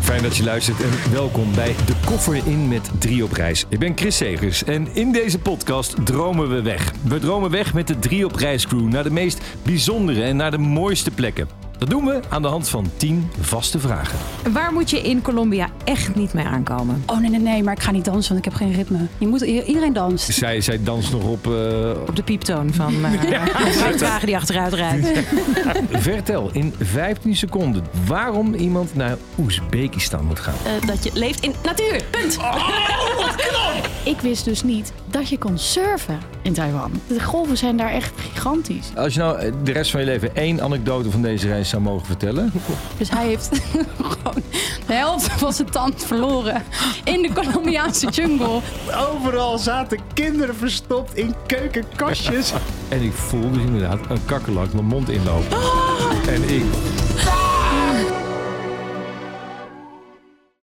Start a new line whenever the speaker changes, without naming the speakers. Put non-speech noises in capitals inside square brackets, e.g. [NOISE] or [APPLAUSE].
Fijn dat je luistert en welkom bij De Koffer in met Drie op Reis. Ik ben Chris Segers en in deze podcast dromen we weg. We dromen weg met de Drie op Reis crew naar de meest bijzondere en naar de mooiste plekken. Dat doen we aan de hand van 10 vaste vragen.
Waar moet je in Colombia echt niet mee aankomen?
Oh nee, nee, nee, maar ik ga niet dansen, want ik heb geen ritme. Je moet, iedereen danst.
Zij, zij danst nog op. eh, [LAUGHS]
Op de pieptoon van eh, de wagen die achteruit rijdt.
Vertel in 15 seconden waarom iemand naar Oezbekistan moet gaan.
eh, dat je leeft in natuur. Punt.
Ik wist dus niet dat je kon surfen in Taiwan. De golven zijn daar echt gigantisch.
Als je nou eh, de rest van je leven één anekdote van deze reis zou mogen vertellen.
Dus hij heeft [LAUGHS] gewoon de helft van zijn tand verloren in de Colombiaanse jungle.
Overal zaten kinderen verstopt in keukenkastjes.
En ik voel dus inderdaad een kakkerlak mijn mond inlopen. En ik